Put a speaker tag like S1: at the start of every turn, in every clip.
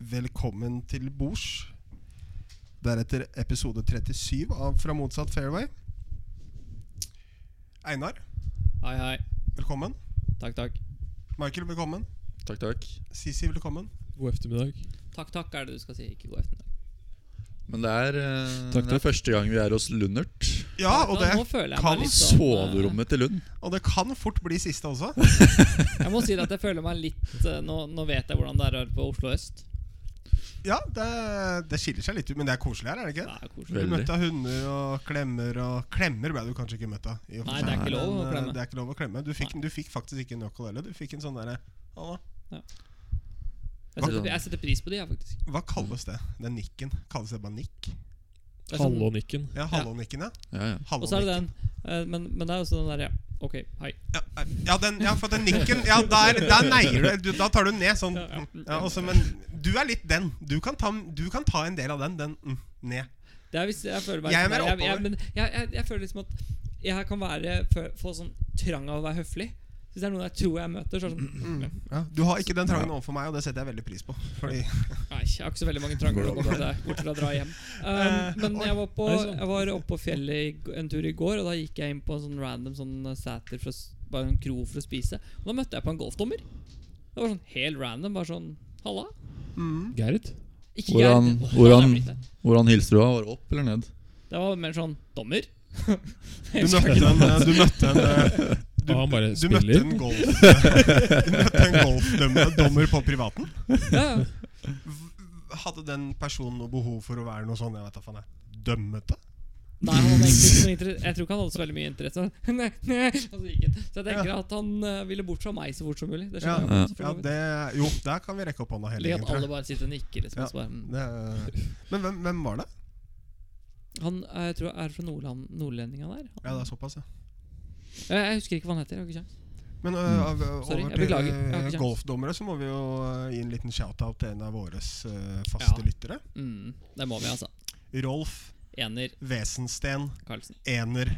S1: Velkommen til bords. Deretter episode 37 av Fra motsatt fairway. Einar,
S2: Hei, hei.
S1: velkommen.
S2: Takk, takk.
S1: Michael, velkommen.
S3: Takk, takk.
S1: Sisi, velkommen.
S4: God ettermiddag.
S2: Takk, takk er det du skal si. Ikke god ettermiddag.
S3: Men det er, eh,
S4: Takk,
S3: det er
S4: takk.
S3: første gang vi er hos Lundert.
S1: Ja, og
S2: Nå- nå
S1: det,
S2: føler jeg
S1: kan
S2: meg litt sånn,
S3: Soverommet til Lund.
S1: og det kan fort bli siste også.
S2: eh, Jeg må si det at jeg føler meg litt eh, Nå, nå vet jeg hvordan det er her på Oslo øst.
S1: Ja, det, det skiller seg litt ut, men det er koselig her, er det
S2: Det
S1: ikke?
S2: er
S1: Du
S2: koselig.
S3: Vel. Veldig.
S1: møtte hunder og klemmer og Klemmer ble du kanskje ikke møtt av. i og for
S2: Nei,
S1: seg,
S2: det er ikke lov
S1: men,
S2: å
S1: eh,
S2: klemme.
S1: Det er ikke lov å klemme. Du fikk, du fikk faktisk ikke en nøkkel heller. Du fikk en sånn derre Halla.
S2: Jeg setter, jeg setter pris på de, jeg, faktisk.
S1: Hva kalles det? Den nikken? Kalles det bare nikk?
S2: Det er sånn-
S4: Hallånikken.
S1: Ja, hallonikken, ja.
S3: Ja, ja.
S2: Og så er det
S1: Hallonikken.
S2: den. eh, Men, men det er jo også den der, ja. Ok, hei.
S1: Ja, ja, den, ja, for den nikken Ja, der, der neier du, du. Da tar du den ned sånn.
S2: Ja, ja.
S1: Ja, også, men du er litt den. Du kan ta, du kan ta en del av den. Den mm, ned.
S2: Det er hvis jeg føler meg
S1: Jeg er
S2: litt
S1: mer
S2: sånn der- jeg,
S1: oppover.
S2: jeg, men jeg, jeg, jeg føler liksom at jeg her kan være fø- få sånn trang av å være høflig. Hvis det er noen jeg tror jeg møter, så er det sånn
S1: Ja, du har ikke den trangen overfor meg, og det setter jeg veldig pris på. Fordi
S2: Nei, jeg har ikke så veldig mange tranger å gå for det, bort fra å dra hjem. Um, men jeg var, på,
S4: Oi.
S2: jeg var oppe på fjellet i g- en tur i går, og da gikk jeg inn på en sånn random sånn eh, sæter for å, s- bare en kro for å spise. Og da møtte jeg på en golfdommer. Det var sånn helt random. Bare sånn Halla.
S1: mm,
S4: Gerrit.
S2: Ikke
S3: Hvor han-
S2: greit.
S3: hvor
S2: Åh, det
S3: han-
S2: er blitt det.
S3: Hvordan hilser du? da? Var det opp eller ned?
S2: Det var mer sånn Dommer?
S1: Du møtte en eh, Du møtte en eh, du,
S4: Ja, Ah, han bare
S1: du møtte
S4: spiller.
S1: en golf Du møtte en golfdommer på privaten.
S2: Ja, ja.
S1: Hadde den personen noe behov for å være noe sånn Jeg vet da faen, jeg. Dømmete?
S2: Nei, han hadde egentlig ikke noe interesse Jeg tror ikke han hadde så veldig mye interesse. Nei, nei, altså, gikk han. så jeg tenker at han eh, ville bort fra meg så fort som mulig. Det
S1: Ja,
S2: skjønner jeg
S3: ja.
S2: også, for
S1: Ja,
S2: så vidt.
S1: det, jo, der kan vi rekke opp hånda hele
S2: Eller
S1: gjengen,
S2: at
S1: tror
S2: alle
S1: jeg.
S2: bare sitter og nikker. Liksom,
S1: Ja.
S2: og så bare, mm.
S1: Det, men hvem, hvem var det?
S2: Han eh, jeg tror er fra Nordland, nordlending han er. Han,
S1: Ja, det er såpass, ja.
S2: Eh, jeg husker ikke hva han heter. Jeg har ikke sjans.
S1: Men ø,
S3: Mm.
S1: av, ø,
S2: Sorry, jeg
S1: over til
S2: beklager. Jeg har
S1: ø,
S2: ikke sjans.
S1: golfdommere så må vi jo ø, gi en liten shout-out til en av våre øh, faste
S2: Ja.
S1: lyttere.
S2: Mm, det må vi, altså.
S1: Rolf
S2: Ener
S1: Wesensten
S2: Karlsen.
S1: Ener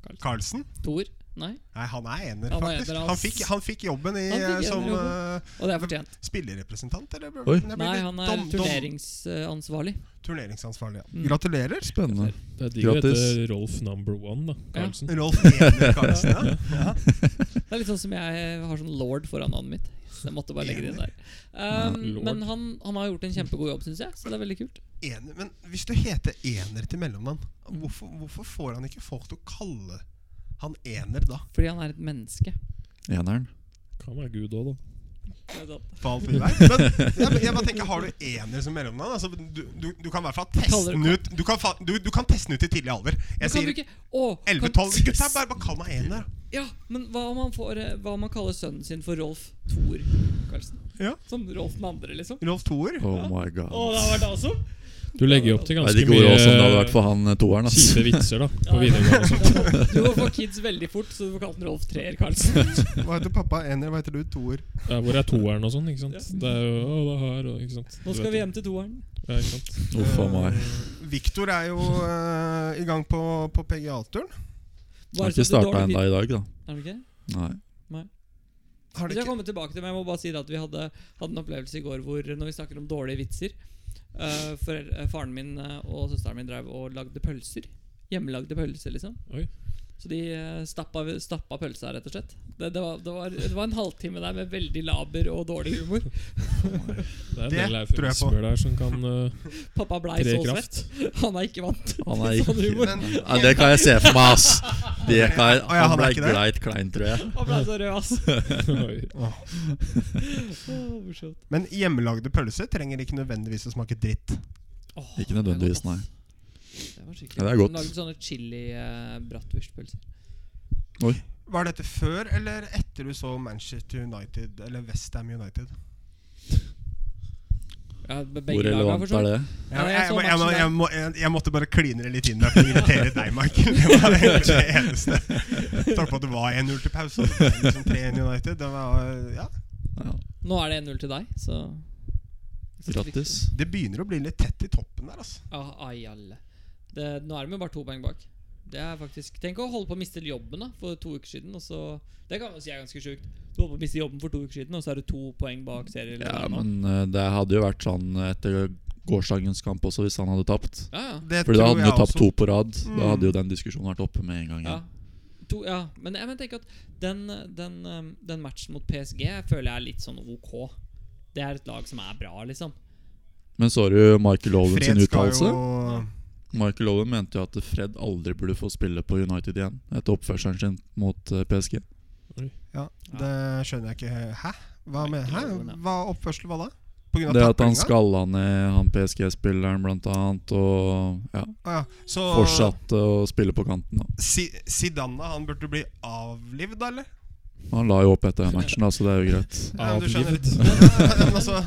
S2: Karlsen.
S1: Karlsen.
S2: Tor? Nei.
S1: Nei, han er ener,
S2: Han er
S1: faktisk.
S2: ener, han
S1: han,
S2: s-
S1: fikk, han fikk jobben i,
S2: Han fikk
S1: ø, som
S2: enerjobben.
S1: ø,
S2: Og det er fortjent.
S1: spillerrepresentant, eller? ble-
S3: Oi.
S1: det blir
S2: Nei,
S1: litt
S2: han er
S1: dom- dom-
S2: turneringsansvarlig.
S1: Turneringsansvarlig. Ja.
S2: Mm.
S1: Gratulerer.
S3: Spennende.
S4: Det er digg å
S3: Grattis.
S4: hete Rolf number one, da. Karlsen.
S1: Rolf Ener Karlsen, ja. ja.
S2: Det er litt sånn som jeg har sånn lord foran navnet mitt. Så jeg måtte bare legge det inn der. Um,
S4: Lord.
S2: men han, han har gjort en kjempegod jobb, syns jeg. Så det er veldig kult.
S1: Ener, men hvis du heter Ener til mellomnavn, hvorfor, hvorfor får han ikke folk til å kalle han Ener da?
S2: Fordi han er et menneske.
S3: Eneren.
S4: Kan være Gud òg, da.
S2: Det er sant.
S1: på alt mulig vei. Men jeg, jeg bare tenker, har du ener som mellomnavn? Altså, du, du, du kan i hvert fall teste
S2: Kaller
S1: den ut Du kan, fa- du, du kan teste den ut i tidlig alder.
S2: Men
S1: Jeg
S2: kan
S1: sier
S2: du ikke Å! kan-
S1: 11-12. Gutta, bare, bare kall meg ener.
S2: Ja, men hva om, han får, eh, hva om han kaller sønnen sin for Rolf Thor Karlsen?
S1: Ja.
S2: Som Rolf den andre, liksom?
S1: Rolf Toer.
S3: Oh my god.
S2: Å, det har vært awesome!
S4: Du legger jo opp til
S3: Jeg vet
S4: ganske
S3: ikke hvor awesome det hadde vært
S4: mye
S3: for han eh, toeren. ass.
S4: kjipe vitser da på
S2: Ja.
S4: videregående. og sånt.
S2: Du må få kids veldig fort, så du får kalt den Rolf Treer Karlsen.
S1: Hva heter pappa ener? Hva heter du? Toer.
S4: Ja, hvor er toeren og sånn? ikke sant?
S2: Ja.
S4: Det er jo å, det er her, og ikke sant?
S2: Nå
S4: Du
S2: skal
S4: vet
S2: vi
S4: det.
S2: hjem til toeren.
S4: Ja, ikke sant?
S3: Uff a meg.
S1: Viktor Eh, er jo eh, i gang på, på PGA-turen.
S3: Har ikke starta ennå i dag, da.
S2: Er det ikke?
S3: Nei.
S1: Har
S2: Så
S1: det
S2: jeg
S1: ikke?
S2: kommer tilbake til, men jeg må bare si det at vi hadde, hadde en opplevelse i går hvor når vi snakker om dårlige vitser eh, for, eh, Faren min eh, og søsteren min drev og lagde pølser. Hjemmelagde pølser, liksom.
S4: Oi.
S2: Så de eh, stappa, stappa pølsa, rett og slett. Det, det, var, det, var, det var en halvtime der med veldig laber og dårlig humor.
S4: Det er
S1: Det
S4: en del
S1: tror jeg på.
S4: eufemismer der som kan uh,
S2: Pappa blei
S4: tre
S2: så
S4: i
S2: svett.
S4: kraft.
S2: Han er ikke vant til
S3: Han er ikke
S2: sånn humor.
S1: Men
S3: Nei, det kan jeg se for meg, ass. Det kan
S1: Å,
S3: jeg,
S1: ja,
S3: han
S1: han er
S3: ble
S1: ikke det?
S3: gleit klein, tror jeg.
S2: Han blei så rød, altså.
S4: Oi.
S2: Åh, morsomt.
S1: Men hjemmelagde pølser trenger ikke nødvendigvis å smake dritt.
S2: Åh,
S3: Ikke nødvendigvis, nei.
S2: Det var skikkelig
S3: Ja, det er godt.
S2: Hun lagde sånne chili uh, bratwurstpølser.
S1: Var dette før eller etter du så Manchester United eller Westham United?
S2: Ja, be- begge
S3: Hvor
S2: laga, for sånn.
S3: relevant
S2: så
S3: er
S2: vidt.
S1: Jeg,
S3: det?
S2: Ja,
S1: jeg,
S2: jeg så
S1: må- jeg, må-
S2: matchen der.
S1: jeg, må- jeg, jeg måtte bare kline det litt inn der for å irritere deg, Michael. Det var egentlig det eneste. Takk for at det var 1-0 til pause. og så ble det Liksom 3-1 United. Det var, ja.
S3: Ja.
S2: Nå er det 1-0 til deg, så
S3: Grattis.
S1: sånn,
S2: Ah,
S1: Det begynner å bli litt tett i toppen der, altså.
S2: Ja, ai, alle. Det, nå er de jo bare to poeng bak. Det er faktisk Tenk å holde på å miste jobben da for to uker siden. Og så, det kan man si er ganske sjukt. Du holder på å miste jobben for to uker siden, og så er du to poeng bak
S3: Ja,
S2: serielederen. nå.
S3: men eh, det hadde jo vært sånn etter gårsdagens kamp også, hvis han hadde tapt.
S2: ja, ja.
S1: Det
S3: Fordi da
S1: tror
S3: hadde han jo
S1: jeg
S3: tapt
S1: også.
S3: to på rad. Da
S1: Mm.
S3: hadde jo den diskusjonen vært oppe med en gang.
S2: Ja.
S3: igjen.
S2: To, ja. Men jeg men tenker at den, den, um, den matchen mot PSG føler jeg er litt sånn ok. Det er et lag som er bra, liksom.
S3: Men så du Michael Owen sin
S1: Fred skal
S3: uttalelse?
S1: jo
S3: Michael Owen mente jo at Fred aldri burde få spille på United igjen etter oppførselen sin mot eh, PSG.
S1: Ja, det skjønner jeg ikke. Hæ? Hva med Hæ?
S2: Michael Owen, ja.
S1: Hva oppførsel var da? På grunn av
S3: Det at han
S1: taklinga?
S3: skalla ned han PSG-spilleren, blant annet, og ja,
S1: Å ja. Så
S3: fortsatte å spille på kanten. da
S1: Si Zidane, han burde bli avlivd, da, eller?
S3: Han la jo opp etter den matchen, da, så det er jo greit.
S1: Ja, men du skjønner.
S4: Avlivet.
S1: Ja, ja, men altså,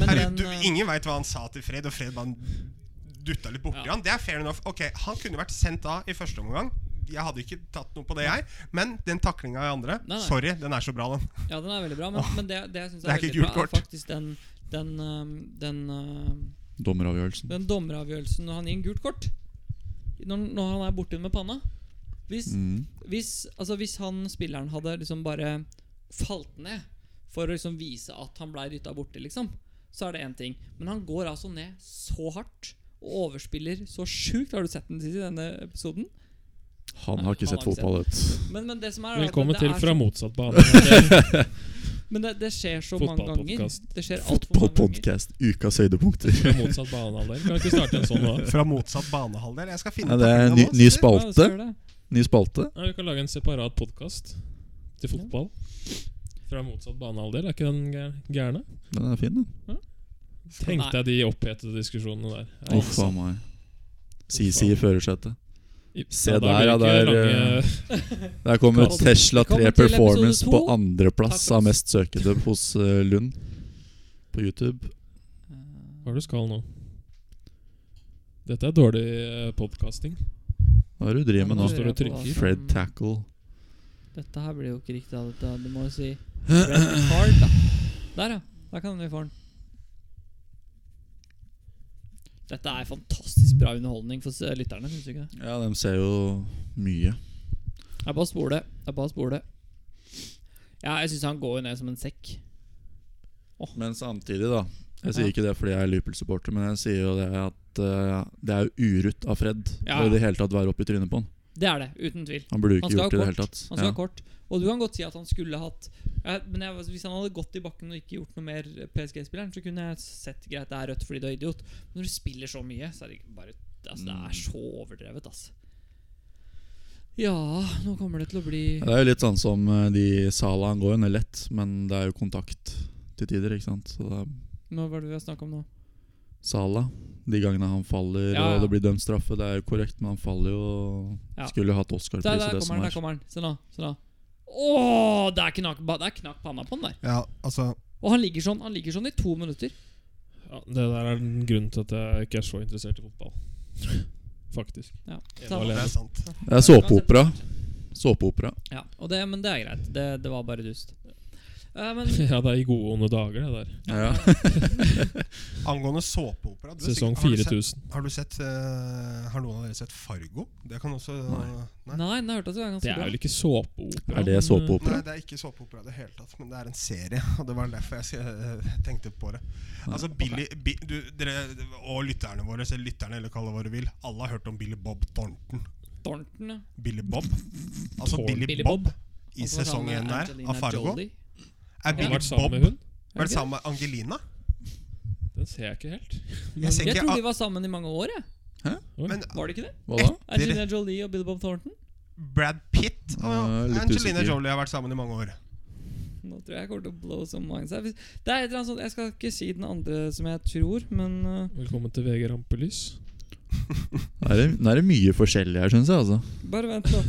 S2: Men
S1: herregud,
S2: den,
S1: du-
S2: uh,
S1: ingen veit hva han sa til Fred, og Fred bare dutta litt borti
S2: Ja.
S1: han. Det er fair enough. Ok, Han kunne vært sendt av i første omgang. Jeg hadde ikke tatt noe på det, jeg. Men den taklinga i andre
S2: Nei, nei.
S1: Sorry, den er så bra, den.
S2: Ja, den er veldig bra, men, men det, det jeg syns
S1: Det
S2: er,
S1: er ikke
S2: veldig
S1: gult
S2: bra,
S1: kort.
S2: er faktisk den, den, um, den, um,
S3: Dommeravgjørelsen.
S2: den dommeravgjørelsen når han gir en gult kort. Når, når han er borti med panna. Hvis,
S3: Mm.
S2: hvis, altså, hvis han spilleren hadde liksom bare falt ned for å liksom vise at han ble dytta borti, liksom, så er det én ting. Men han går altså ned så hardt og overspiller så sjukt. Har du sett den siste i denne episoden?
S3: Han har ikke
S2: Han
S3: sett
S2: har ikke
S3: fotball, vet du.
S2: Men, men det som er er at
S4: Velkommen
S2: det
S4: til
S2: er
S4: Fra
S2: så,
S4: motsatt bane.
S2: Men det, det skjer så mange ganger.
S4: Fotballpodcast.
S2: Det skjer altfor mange ganger.
S3: Fotballpodkast, ukas høydepunkter.
S4: Fra motsatt banehalvdel. Kan vi ikke starte en sånn nå? da?
S1: Fra motsatt banehalvdel. Jeg skal finne
S3: Ja, det er
S1: taklinga
S3: en ny,
S1: nå, sitter.
S3: ny
S2: Ja, det
S3: spalte.
S2: gjør det.
S3: Ny spalte.
S4: Nei, Vi kan lage en separat podkast til fotball. Fra motsatt banehalvdel, er ikke den gær- gærne?
S3: Den er fin, den.
S4: Tenkte jeg de opphetede diskusjonene der. Ja,
S3: Uff a meg. CC i førersetet.
S4: i-
S3: se
S4: ja, da
S3: der, eh. ja,
S4: blir det ikke
S3: der,
S4: lange-
S3: Der kommer
S2: Velkommen-
S3: Tesla 3
S2: velkommen til
S3: Performance
S2: episode
S3: på
S2: to.
S3: andreplass
S2: Takk,
S3: av
S2: ass.
S3: mest søkede hos eh, Lund på YouTube.
S4: Hva er det du skal nå? Dette er dårlig eh, podkasting.
S3: Hva er det du driver med
S2: Nå
S3: nå?
S2: lurer jeg på hva som-
S3: Fred Tackle.
S2: Dette her blir jo ikke riktig av dette. Du må jo si red card, da. Der, ja. Der kan vi få den. Dette er fantastisk bra underholdning for s- lytterne, syns du ikke det?
S3: Ja, de ser jo mye.
S2: Jeg bare spoler det. Jeg bare spoler det. Ja, jeg syns han går jo ned som en sekk.
S3: Men samtidig, da. Jeg sier
S2: Ja.
S3: ikke det fordi jeg er Liverpool-supporter, men jeg sier jo det at eh, det er jo urutt av Fred
S2: Ja.
S3: å i det hele tatt være oppi trynet på han.
S2: Det er det, uten tvil.
S3: Han burde jo
S2: Han
S3: ikke
S2: skal
S3: gjort det i
S2: ha
S3: det hele tatt.
S2: Han skal
S3: Ja.
S2: ha kort. Og du kan godt si at han skulle hatt ja, Men jeg, altså, hvis han hadde gått i bakken og ikke gjort noe mer PSG-spilleren, så kunne jeg sett greit det er rødt fordi du er idiot. Men når du spiller så mye, så er det ikke bare altså, Det
S3: Mm.
S2: er så overdrevet, altså. Ja, nå kommer det til å bli
S3: Ja, Det er jo litt sånn som eh, de Sala Han går jo ned lett, men det er jo kontakt til tider, ikke sant. Så det er
S2: Hva var det vi har snakka om nå?
S3: Sala. De gangene han faller
S2: Ja, ja.
S3: og det blir dømt straffe, det er jo korrekt, men han faller jo og
S2: Ja.
S3: Skulle jo hatt
S2: Der,
S3: Oscar-pris i
S2: der
S3: det
S2: kommer
S3: som
S2: den, der
S3: er.
S2: kommer den. Se nå. Se nå. Åh, det er knakk ba- det er knakk panna på den der.
S1: Ja, altså
S2: Og han ligger sånn, han ligger sånn i to minutter.
S4: Ja, det der er den grunnen til at jeg ikke er så interessert i fotball. Faktisk.
S2: Ja,
S4: Ene
S2: så-
S4: og
S1: Det
S4: alene.
S1: er sant.
S3: Det er såpeopera. Såpeopera.
S2: ja og det, Men det er greit. Det, det var bare dust. Eh, men
S4: Ja, det er i gode onde dager, det der.
S3: Ja.
S1: Angående såpeopera du er
S4: Sesong
S1: sikkert- har du sett-
S4: 4000.
S1: Har du sett eh, Har noen av dere sett Fargo? Det kan også
S3: Nei.
S1: Nei?
S2: Nei, den har jeg hørt at det er
S4: Det
S2: ganske
S4: er
S2: bra.
S4: vel ikke såpeopera?
S3: Er det
S4: men,
S3: såpeopera?
S1: Nei, det er ikke såpeopera i det hele tatt, men det er en serie. Og det var derfor jeg eh, tenkte på det. Altså Billy Bi, du, dere, Og lytterne våre, selv lytterne eller kall det hva du vil, alle har hørt om Billy Bob Thornton.
S2: Thornton, ja.
S1: Billy Bob. Altså
S4: Thorn-
S1: Billy,
S2: Billy
S1: Bob,
S2: Bob.
S1: i
S2: Altså,
S1: sesong
S2: han er
S1: én der,
S2: Angelina
S1: av Fargo.
S2: Jolie.
S1: Er
S4: eh, Har
S1: Billy
S4: vært sammen med
S1: Bob
S4: hun?
S1: Var det sammen med Angelina?
S4: Den ser jeg ikke helt.
S1: Jeg ser
S2: Jeg
S1: ikke
S2: tror
S1: at,
S2: de var sammen i mange år. Jeg.
S1: Men
S2: Var det ikke det?
S3: Hva da?
S2: Angelina Jolie og Billy Bob Thornton?
S1: Brad Pitt og
S3: Ja, litt
S1: Angelina
S3: usikker.
S1: Jolie har vært sammen i mange år.
S2: Nå tror jeg jeg kommer til å blow så mange seg. Hvis- Det er et eller annet sånt Jeg skal ikke si den andre som jeg tror, men uh,
S4: Velkommen til VG Rampelys.
S3: Nå er det, nå er det mye forskjellig her, syns jeg. altså
S2: bare vent nå.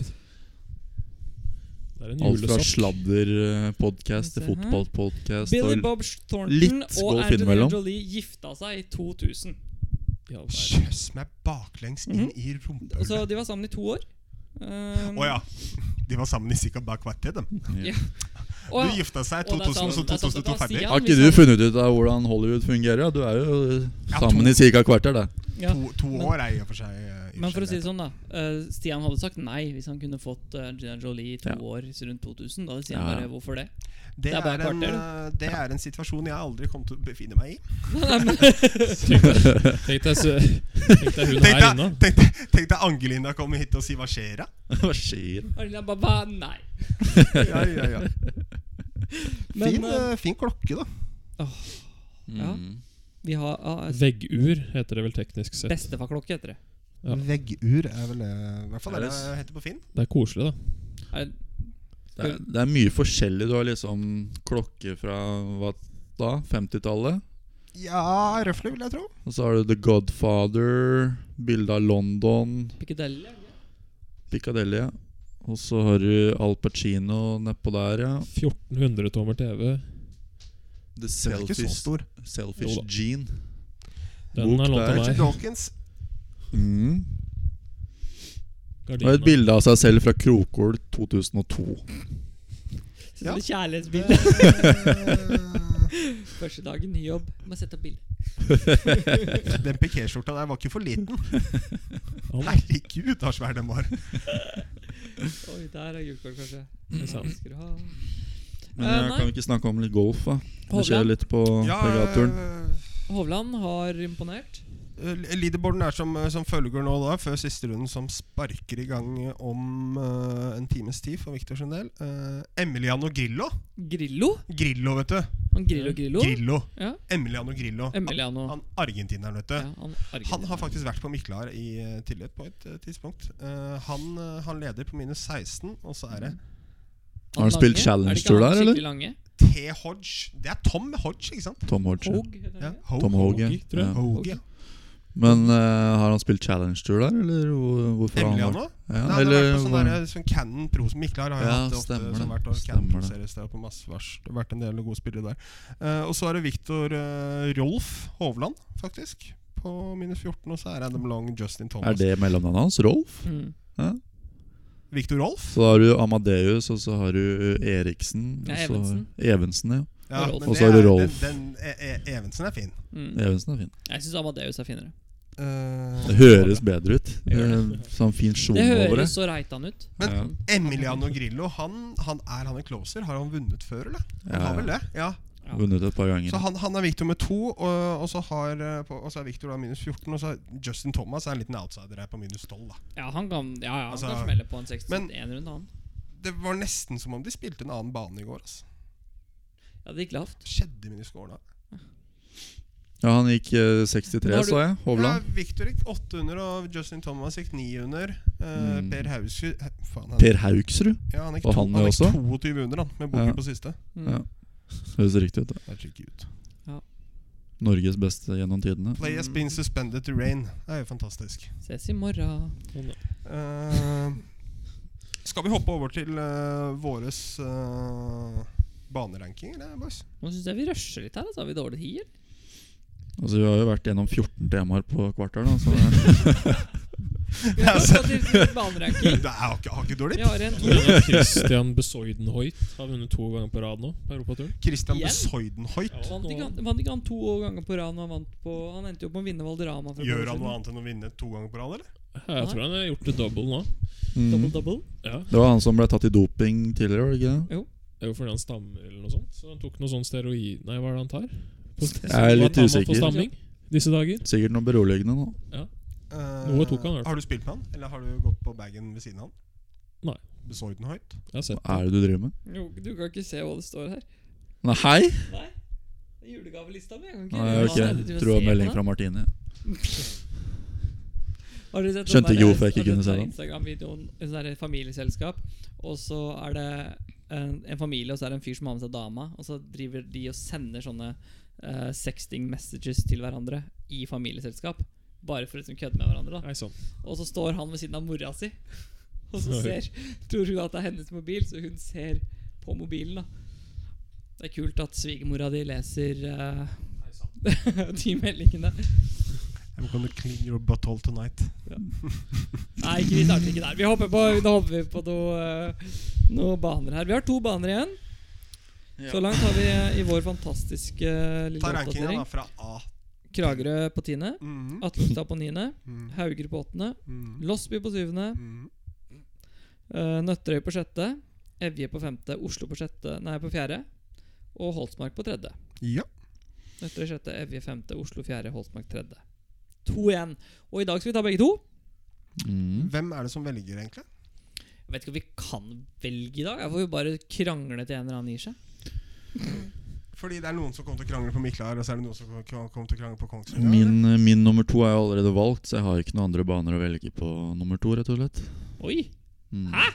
S4: Det er en
S3: Alt fra
S4: julesokk.
S3: sladderpodkast til
S2: Se her.
S3: fotballpodkast.
S2: Billy
S3: og-
S2: Bob Thornton
S3: litt
S2: og
S3: golf
S2: Angelina
S3: innimellom.
S2: Jolie gifta seg i 2000.
S4: Ja, det er-
S1: Jøss meg baklengs inn i
S2: Og så
S1: rumpehullet.
S2: De var sammen i to år. Um,
S1: Å ja. De var sammen i sikkert bare kvarter, dem.
S2: å ja.
S1: Du gifta seg i
S2: Og det er
S1: 2000, så
S2: sant, det er sant,
S1: 2002
S2: det var
S1: ferdig.
S2: Stian.
S3: Har ikke du funnet ut av hvordan Hollywood fungerer? Ja, du er jo eh,
S1: Ja,
S3: sammen
S1: to-
S3: i ca. kvarter, da.
S2: Ja,
S1: To, to
S2: men-
S1: år er i og for seg eh, i og
S2: Men for å si
S1: seg
S2: det sånn, da. eh, Stian hadde sagt nei hvis han kunne fått eh, Angelina Jolie i to
S3: Ja.
S2: år rundt 2000. Da hadde Stian
S3: Ja, ja.
S2: bare 'hvorfor det?'
S1: greit.
S2: det er
S1: en,
S2: bare kvarter,
S1: eh, det er en situasjon jeg aldri kommer til å befinne meg i.
S4: Tenk deg, så- tenk deg hun
S1: Tenk
S4: her
S1: deg,
S4: inne.
S1: tenk, deg- tenk deg Angelina komme hit og si 'hva skjer da?'
S3: Hva skjer?
S2: Angelina Baba, nei.
S1: Ja, ja, ja.
S2: Men,
S1: Fin,
S2: eh,
S1: eh, fin klokke, da.
S2: Ja.
S3: Mm.
S2: Vi har ah,
S4: Veggur heter det vel teknisk sett.
S2: bestefarklokke, heter det.
S4: Ja.
S1: Veggur er vel det I hvert fall
S3: Er
S1: det
S3: det
S1: det
S3: s-
S1: heter på Finn.
S4: Det er koselig, da.
S2: Er,
S3: Det, er, det er mye forskjellig. Du har liksom klokke fra hva da? 50-tallet?
S1: Ja, røffelig, vil jeg tro.
S3: Og så har du The Godfather, bilde av London,
S2: Piccadilly? er det?
S3: Piccadilly. ja. Og så har du Al Pacino nedpå der, ja.
S4: 1400 tommer TV.
S3: The
S1: Den er ikke så
S3: Selfish,
S1: stor.
S3: selfish
S4: Jo da.
S3: Gene.
S4: Den
S3: Bok
S4: er lånt av
S3: der.
S1: Richard
S4: meg.
S1: Dawkins.
S3: Mm. Og
S4: Gardina.
S3: et bilde av seg selv fra Krokol 2002.
S2: Sånn
S1: Ja.
S2: Kjærlighetsbilde.
S1: Eh,
S2: Første dagen, ny jobb. Må sette opp bilde.
S1: Den pikéskjorta der var ikke for liten.
S4: Ja, da.
S1: Herregud, så svær den var.
S2: Oi, der er gult kort, kanskje.
S4: Det er sant.
S2: Skal du ha
S3: Men
S2: Eh,
S3: jeg
S2: nei.
S3: kan vi ikke snakke om litt golf, da? Det skjer
S2: Hovland.
S3: litt Sånn på
S1: Ja,
S3: Pegaturen.
S2: Hovland har imponert.
S1: eh, Leaderboarden er som, som følger nå, da, før siste runden, som sparker i gang om eh, en times tid for Victor sin del. Uh, Emiliano Grillo.
S2: Grillo.
S1: Grillo, vet du.
S2: Han Grillo Grillo.
S1: Grillo.
S2: Ja.
S1: Emiliano Grillo.
S2: Emiliano.
S1: Han argentineren, vet du.
S2: Ja, han,
S1: Han har
S2: argentiner.
S1: faktisk vært på Miklar i eh, tillegg på et eh, tidspunkt. Eh, han, eh, han leder på minus 16, og så er
S2: Mm.
S1: det
S3: Har han spilt
S2: lange?
S3: Challenge
S2: Er det ikke
S3: Tour
S2: han
S3: der, eller?
S2: skikkelig Lange?
S1: T. Hodge. Det er Tom Hodge, ikke sant?
S3: Tom Hodge.
S2: Hog, heter han
S1: Ja,
S2: det?
S1: Ho-
S3: Tom Hoge.
S4: Hoge, tror jeg.
S3: Ja.
S1: Hoge, ja.
S3: Men eh, har han spilt Challenge Tour der, eller hvor, hvorfor har han vært-
S1: Emiliano?
S3: Ja,
S1: Nei, han har
S3: eller
S1: vært på sånn
S3: hva-
S1: derre- sånn Cannon Pro som Miklar har jo
S3: Ja,
S1: hatt det ofte.
S3: stemmer
S1: Som
S3: det.
S1: hvert år
S3: Stemmer
S1: Cannon
S3: det.
S1: Pro series der på masse vars. Det har vært en del gode spillere der. Eh, og så er det Victor eh, Rolf Hovland, faktisk. På minus 14, og så er Adam Long Justin
S3: Er
S1: Thomas.
S3: det mellomnavnet hans? Rolf?
S2: Mm.
S1: Victor Rolf?
S3: Så har du Amadeus, og så har du eh, Eriksen.
S2: Ja,
S3: og så-
S2: Evensen. Mm.
S3: Evensen, ja.
S1: Ja,
S2: Rolf.
S1: men
S3: Og så er det
S1: den-
S3: Rolf.
S1: Den, E- E- Evensen er fin.
S2: Mm.
S3: Evensen er fin.
S2: Jeg syns Amadeus er finere.
S1: Eh,
S3: Det høres bedre ut.
S2: gjør
S3: Eh, Sånn fin sjon
S2: Det
S3: over
S2: høres
S3: det.
S2: så Reitan ut.
S1: Men
S3: Ja.
S1: Emiliano Grillo, han, han er han en closer? Har han vunnet før, eller? Han har vel det, ja
S2: Ja.
S3: Vunnet et par ganger.
S1: Så han, han er Victor med to, og, og, så, har, eh, på, og så er Victor da minus 14. Og så er Justin Thomas er en liten outsider her på minus 12. da
S2: Ja, han kan, ja, ja, han
S1: Altså,
S2: kan smelle på en 61
S1: men-
S2: runde, han.
S1: Det var nesten som om de spilte en annen bane i går. Altså.
S2: Ja, det gikk lavt.
S1: Skjedde med de scorene.
S3: Ja, han gikk eh, 63,
S2: Har du-
S3: sa jeg.
S1: Ja,
S3: Hovland.
S1: Victor gikk 8 under, og Justin Thomas gikk 9 under. Eh,
S3: Mm.
S1: Per Haugsrud eh, Faen, han,
S3: Per Haugsrud.
S1: ja, han gikk,
S3: og
S1: to,
S3: han
S1: han gikk
S3: også?
S1: 22 under, han, med boken
S3: Ja.
S1: på siste.
S2: Mm.
S3: Ja. Høres riktig ut. da.
S1: Herregud.
S3: Norges beste gjennom tidene.
S1: Play has been suspended to rain. Det er jo fantastisk.
S2: Ses i morgen.
S1: Eh, skal vi hoppe over til eh, våres uh, baneranking, eller, boys?
S2: Nå syns jeg vi rusher litt her. Altså. Har vi dårlig tid? eller?
S3: Altså, vi har jo vært gjennom 14 temaer på kvarter, da. Så
S2: Vi har
S1: Altså.
S2: gått til baneranking.
S1: Det er har ikke, har ikke dårlig.
S2: Vi har en
S4: Torgeir Christian Besoidenhoit har vunnet to ganger på rad nå på europaturen.
S1: Christian
S2: Igjen?
S1: Besoidenhoit.
S2: Vant ikke, han, vant ikke han to ganger på rad? når Han, vant på, han endte jo opp med å vinne Valderama. for et
S1: Gjør
S2: par år
S1: han
S2: siden.
S1: noe annet enn å vinne to ganger på rad, eller?
S4: Ja, Jeg tror han har gjort det double nå.
S2: Double,
S3: mm.
S2: double.
S4: Ja,
S3: Det var han som ble tatt i doping tidligere, var det ikke det?
S4: Det er jo fordi han stammer eller noe sånt. Så han tok noe sånn steroid Nei, hva er det han tar? På-
S3: Jeg er litt
S4: Hva tar man
S3: usikker.
S4: For stamming disse dager?
S3: Sikkert noe beroligende nå.
S1: Eh,
S4: Noe tok han, i hvert fall.
S1: Har du spilt med han, eller har du gått på bagen ved siden av han?
S4: Nei.
S1: Besoidenhoit?
S4: Jeg har sett
S3: Hva
S4: det.
S3: er det du driver med?
S2: Jo, du kan ikke se hva det står her.
S3: Nei, hei!
S2: Nei, det er julegavelista mi. Jeg kan ikke
S3: Nei, ok.
S2: Ja, du må
S3: Tror det
S2: se
S3: var melding
S2: på
S3: fra Martine.
S2: Har dere sett
S3: Skjønte
S2: den
S3: ikke
S2: der-
S3: hvorfor jeg ikke
S2: har dere
S3: kunne
S2: sett
S3: se
S2: den
S3: den.
S2: Instagram-videoen, en sånn der familieselskap, og så er det en, en familie, og så er det en fyr som har med seg dama, og så driver de og sender sånne eh, sexting messages til hverandre i familieselskap. Bare for å liksom kødde med hverandre, da.
S4: Nei, sånn.
S2: Og så står han ved siden av mora si, og så ser Tror hun at det er hennes mobil, så hun ser på mobilen, da. Det er kult at svigermora di leser eh, de meldingene.
S1: I'm gonna clean your butthole tonight.
S2: Nei, ikke, vi starter ikke der. Vi hopper på, nå hopper vi på noe, eh, noen baner her. Vi har to baner igjen. Så langt har vi eh, i vår fantastiske eh, lille
S1: Ta rankinga
S2: oppdatering. Ah.
S1: da fra A
S2: Kragerø på tiende.
S1: Mhm,
S2: Atlestad på niende.
S1: mhm,
S2: Hauger på åttende.
S1: mhm,
S2: Losby på syvende.
S1: mhm.
S2: eh, Nøtterøy på sjette. Evje på femte. Oslo på sjette Nei, på fjerde. Og Holsmark på tredje.
S1: Ja.
S2: Nøtterøy sjette, Evje femte, Oslo fjerde, Holsmark tredje. To igjen. Og i dag skal vi ta begge to.
S3: Mm.
S1: Hvem er det som velger, egentlig?
S2: Jeg vet ikke om vi kan velge i dag. Jeg får jo bare krangle til en eller annen gir seg.
S1: Fordi det er noen som kommer til å krangle på Miklar, og så er det noen som kom- kommer til å krangle på Kongsvinger.
S3: Min, eh, min nummer to er jo allerede valgt, så jeg har ikke noen andre baner å velge på nummer to. rett og slett
S2: Oi!
S3: mm.
S2: Hæ?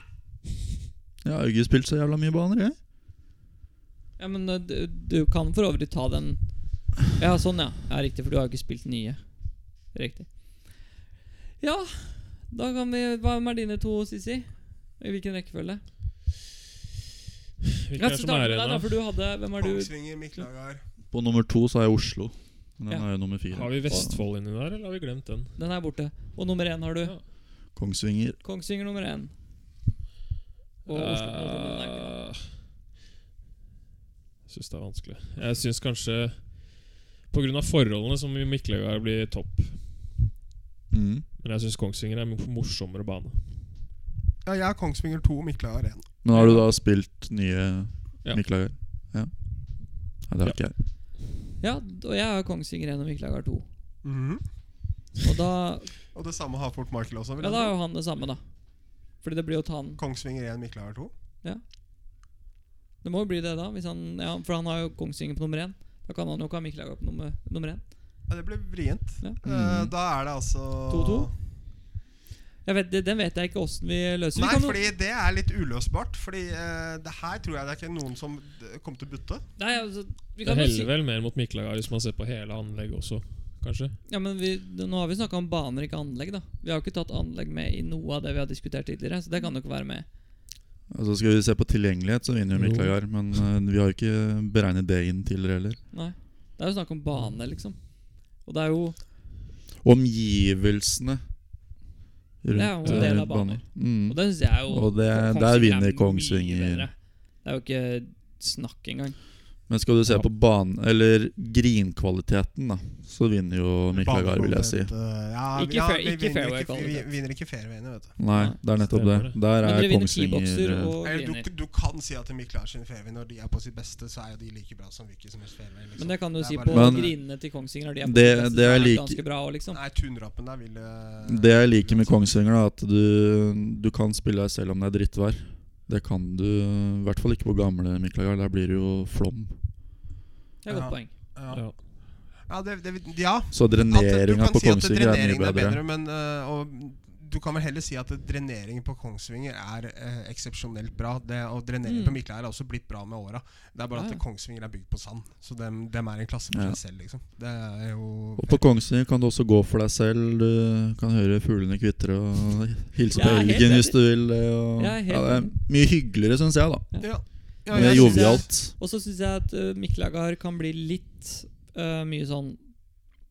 S3: Jeg har jo ikke spilt så jævla mye baner, jeg.
S2: Ja, men eh, du, du kan for øvrig ta den Ja, sånn, ja. Ja, Riktig, for du har jo ikke spilt nye. Riktig. Ja, da kan vi Hva med dine to, Sissi? I hvilken rekkefølge?
S4: Hvilke
S2: Ja,
S4: er
S2: så
S4: som
S2: tar
S4: er
S2: vi deg, da,
S4: igjen,
S2: for du hadde Hvem er du?
S1: Kongsvinger, Miklagar
S3: På nummer to så har jeg Oslo. Men den
S2: Ja.
S3: er jo nummer
S4: da?
S3: fire.
S4: Har vi Vestfold inni der, eller har vi glemt den?
S2: Den er borte. Og nummer én har du?
S4: Ja.
S3: Kongsvinger.
S2: Kongsvinger nummer én. Og
S4: Eh.
S2: Oslo nummer én.
S4: Jeg syns det er vanskelig. Jeg syns kanskje pga. forholdene som i Mikløyga blir topp.
S3: Mm.
S4: Men jeg syns Kongsvinger er en morsommere bane.
S1: Ja, jeg har Kongsvinger 2 og Miklagar 1.
S3: Men har du da spilt nye
S4: Ja.
S3: Miklager? Ja. Nei, det har
S4: Ja.
S3: ikke jeg.
S2: Ja, d- og jeg har Kongsvinger 1 og Miklagar 2.
S1: Mhm.
S2: Og da,
S1: Og det samme har Fort Michael også. vil
S2: ja,
S1: jeg
S2: da er
S1: tro.
S2: jo han det samme, da. Fordi det blir jo Tan.
S1: Kongsvinger 1, Miklagar 2.
S2: Det må jo bli det, da. Hvis han, ja, for han har jo Kongsvinger på nummer 1. Da kan han jo ikke ha Miklagar på nummer, nummer 1.
S1: Ja, det ble vrient.
S2: Ja.
S1: Eh, da er det altså
S2: 2-2? Jeg vet, det- den vet jeg ikke åssen vi løser. Vi
S1: Nei,
S2: kan jo-
S1: fordi det er litt uløsbart. Fordi eh, det her tror jeg det er ikke noen som eh, kommer til å butte.
S2: Nei, altså, vi
S4: Det
S2: kan jo si,
S4: heller vel mer mot Mikløyga hvis man ser på hele anlegget også, kanskje.
S2: ja, men vi, nå har vi snakka om baner, ikke anlegg. da Vi har jo ikke tatt anlegg med i noe av det vi har diskutert tidligere. Så det kan jo ikke være med.
S3: Altså Skal vi se på tilgjengelighet, så vinner jo
S4: Jo.
S3: Miklager. Men eh, vi har jo ikke beregnet det inn tidligere heller.
S2: Nei Det er jo snakk om bane, liksom. Og det er jo
S3: Omgivelsene
S2: Det
S3: rundt
S2: er jo en del
S3: eh,
S2: av baner.
S3: Mm.
S2: Og det syns jeg er jo
S3: Og det-
S2: Kongsvinger
S3: der
S2: er
S3: vinner
S2: mye
S3: Kongsvinger.
S2: bedre. Det er jo ikke snakk engang.
S3: Men skal du se
S4: Ja.
S3: på banen, eller grinkvaliteten, da, så vinner jo Miklager, vil jeg si.
S1: Banekontent, eh, ja,
S2: Ikke
S1: ja,
S2: fair-
S1: vi
S2: ikke
S1: vinner
S2: fairway
S1: ikke- Vi
S2: kvalitet.
S1: vinner ikke fairwayene, vet du.
S3: Nei, det er nettopp det.
S4: Stemmer det.
S3: Der
S2: Men
S3: er
S2: dere vinner keybokser
S3: Kongsvinger eh,
S2: og
S1: Eller,
S2: griner.
S1: du, du kan si at Miklagar sin fairway når de er på sitt beste, så er jo de like bra som hvilken som helst fairway. Liksom.
S2: Men det kan du
S1: er
S2: si
S1: bare-
S2: på
S3: Men-
S2: grinene til Kongsvinger. De er på
S3: Det-
S2: sitt beste,
S3: det
S2: så
S3: er
S2: det
S3: like-
S2: ganske bra også, liksom.
S1: Nei, tunrappen der vil eh,
S3: Det jeg liker med Kongsvinger, da, at du, du kan spille deg selv om det er drittvær. Det kan du i hvert fall ikke på gamle Miklagard. Der blir det jo flom.
S2: Det er et godt
S1: Ja.
S2: poeng.
S1: Ja,
S4: Ja.
S1: ja, det, det, ja
S3: Så
S1: At du
S3: dreneringa
S1: kan
S3: på
S1: si at
S3: Kongsvinger er mye
S1: dreneringen
S3: bedre.
S1: men, eh, og du kan vel heller si at dreneringen på Kongsvinger er eh, eksepsjonelt bra. Det, og dreneringen
S2: Mm.
S1: på Mikla er også blitt bra med åra. Det er bare
S2: Ja,
S1: at
S2: ja.
S1: Kongsvinger er bygd på sand. Så dem, dem er en klasse for
S3: Ja.
S1: seg selv, liksom. Det er jo
S3: Og på Kongsvinger kan du også gå for deg selv. Du kan høre fuglene kvitre og hilse
S2: Jeg
S3: på
S2: er helt
S3: elgen
S2: enig.
S3: hvis du vil. det, Og,
S2: Jeg er helt
S3: ja, det er mye hyggeligere, syns jeg, da.
S1: Ja. Ja,
S3: Mer
S1: jeg synes-
S3: jovialt.
S2: Og så syns jeg at uh, Miklagar kan bli litt eh, mye sånn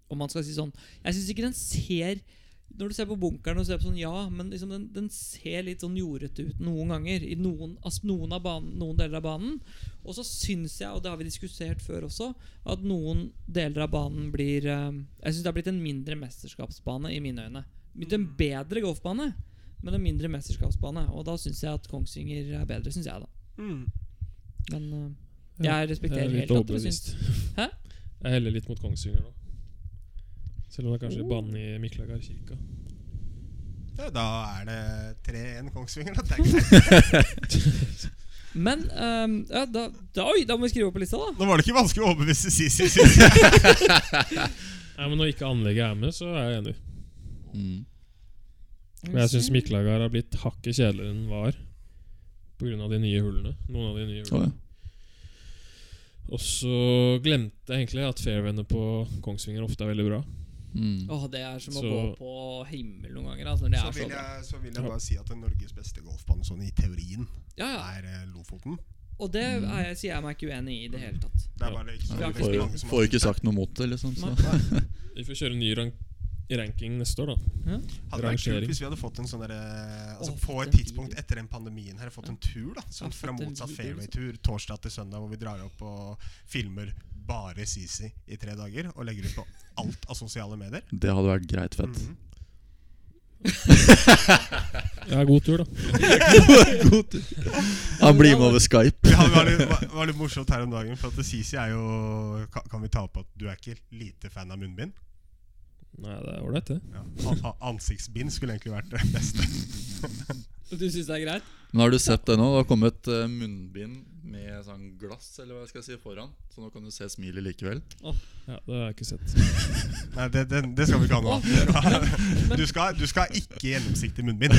S2: Om man skal si sånn Jeg syns ikke den ser Når du ser på bunkeren og ser på sånn, ja, men liksom den, den ser litt sånn jordete ut noen ganger. I noen, altså noen, av banen, noen deler av banen. Og så syns jeg, og det har vi diskutert før også, at noen deler av banen blir eh, Jeg syns det har blitt en mindre mesterskapsbane i mine øyne. Blitt en bedre golfbane, men en mindre mesterskapsbane. Og da syns jeg at Kongsvinger er bedre, syns jeg, da.
S1: Mm.
S2: Men eh,
S4: Ja,
S2: jeg
S4: Jeg er
S2: respekterer
S4: litt
S2: helt at dere syns
S4: overbevist.
S2: Hæ?
S4: Jeg heller litt mot Kongsvinger nå. Selv om det er kanskje
S2: Oh.
S4: banen i Miklagard kirka.
S1: Ja, da er det 3-1 Kongsvinger. Da. Det er greit.
S2: Men ehm, ja, da, da, oi, da må vi skrive opp på lista, da.
S1: Nå var det ikke vanskelig å overbevise Sisi.
S4: Nei, men Når ikke anlegget er med, så er jeg enig.
S3: Mm.
S4: Men jeg syns Miklagard har blitt hakket kjedeligere enn den var. Pga. de nye hullene. Noen av de nye
S3: Å,
S4: hullene.
S3: ja.
S4: Og så glemte jeg egentlig at fairwayene på Kongsvinger ofte er veldig bra.
S3: Mm.
S2: Åh, det er som å
S4: Så-
S2: gå på himmel noen ganger. Altså, når det
S1: Så
S2: er så
S1: vil,
S2: bra.
S1: jeg, så vil jeg bare si at Norges beste golfbane sånn i teorien
S2: Ja, ja.
S1: er eh, Lofoten.
S2: Og det er, jeg, sier jeg meg ikke uenig i i det hele tatt.
S1: Det er bare ikke så
S3: Ja,
S1: veldig
S3: vi får, jo-
S1: mange som har
S3: får jo ikke
S1: spilt der.
S3: sagt noe mot det, liksom. Så.
S4: Vi får kjøre en ny rank ranking neste år, da.
S1: Hadde vært kult
S4: Rangering.
S1: hvis vi hadde fått en sånn derre altså
S2: Åh,
S1: På
S2: fått
S1: et
S2: en
S1: tidspunkt
S2: video.
S1: etter den pandemien her, fått en tur. da Sånn
S2: Ja,
S1: fra
S2: fått en
S1: motsatt
S2: video, liksom.
S1: fairway-tur torsdag til søndag, hvor vi drar opp og filmer bare CC i tre dager og legger ut på alt av sosiale medier.
S3: Det hadde vært greit fett.
S1: Mhm.
S4: Ja, god tur, da.
S3: God tur. Han blir med over Skype.
S1: Vi har- var, litt, var- var litt morsomt her om dagen, for at CC er jo kan, kan vi ta opp at du er ikke lite fan av munnbind?
S4: Nei, det er ålreit, det.
S1: Ja. An- an- Ansiktsbind skulle egentlig vært det beste.
S2: Du syns det er greit?
S3: Men har du sett det nå? Det har kommet eh, munnbind med sånn glass eller hva jeg skal si, foran. Så nå kan du se smilet likevel.
S4: Ja, Det har jeg ikke sett.
S1: Nei, det, det, det skal vi ikke ha nå. Ja. Du skal, du skal ha ikke gjennomsiktig munnbind.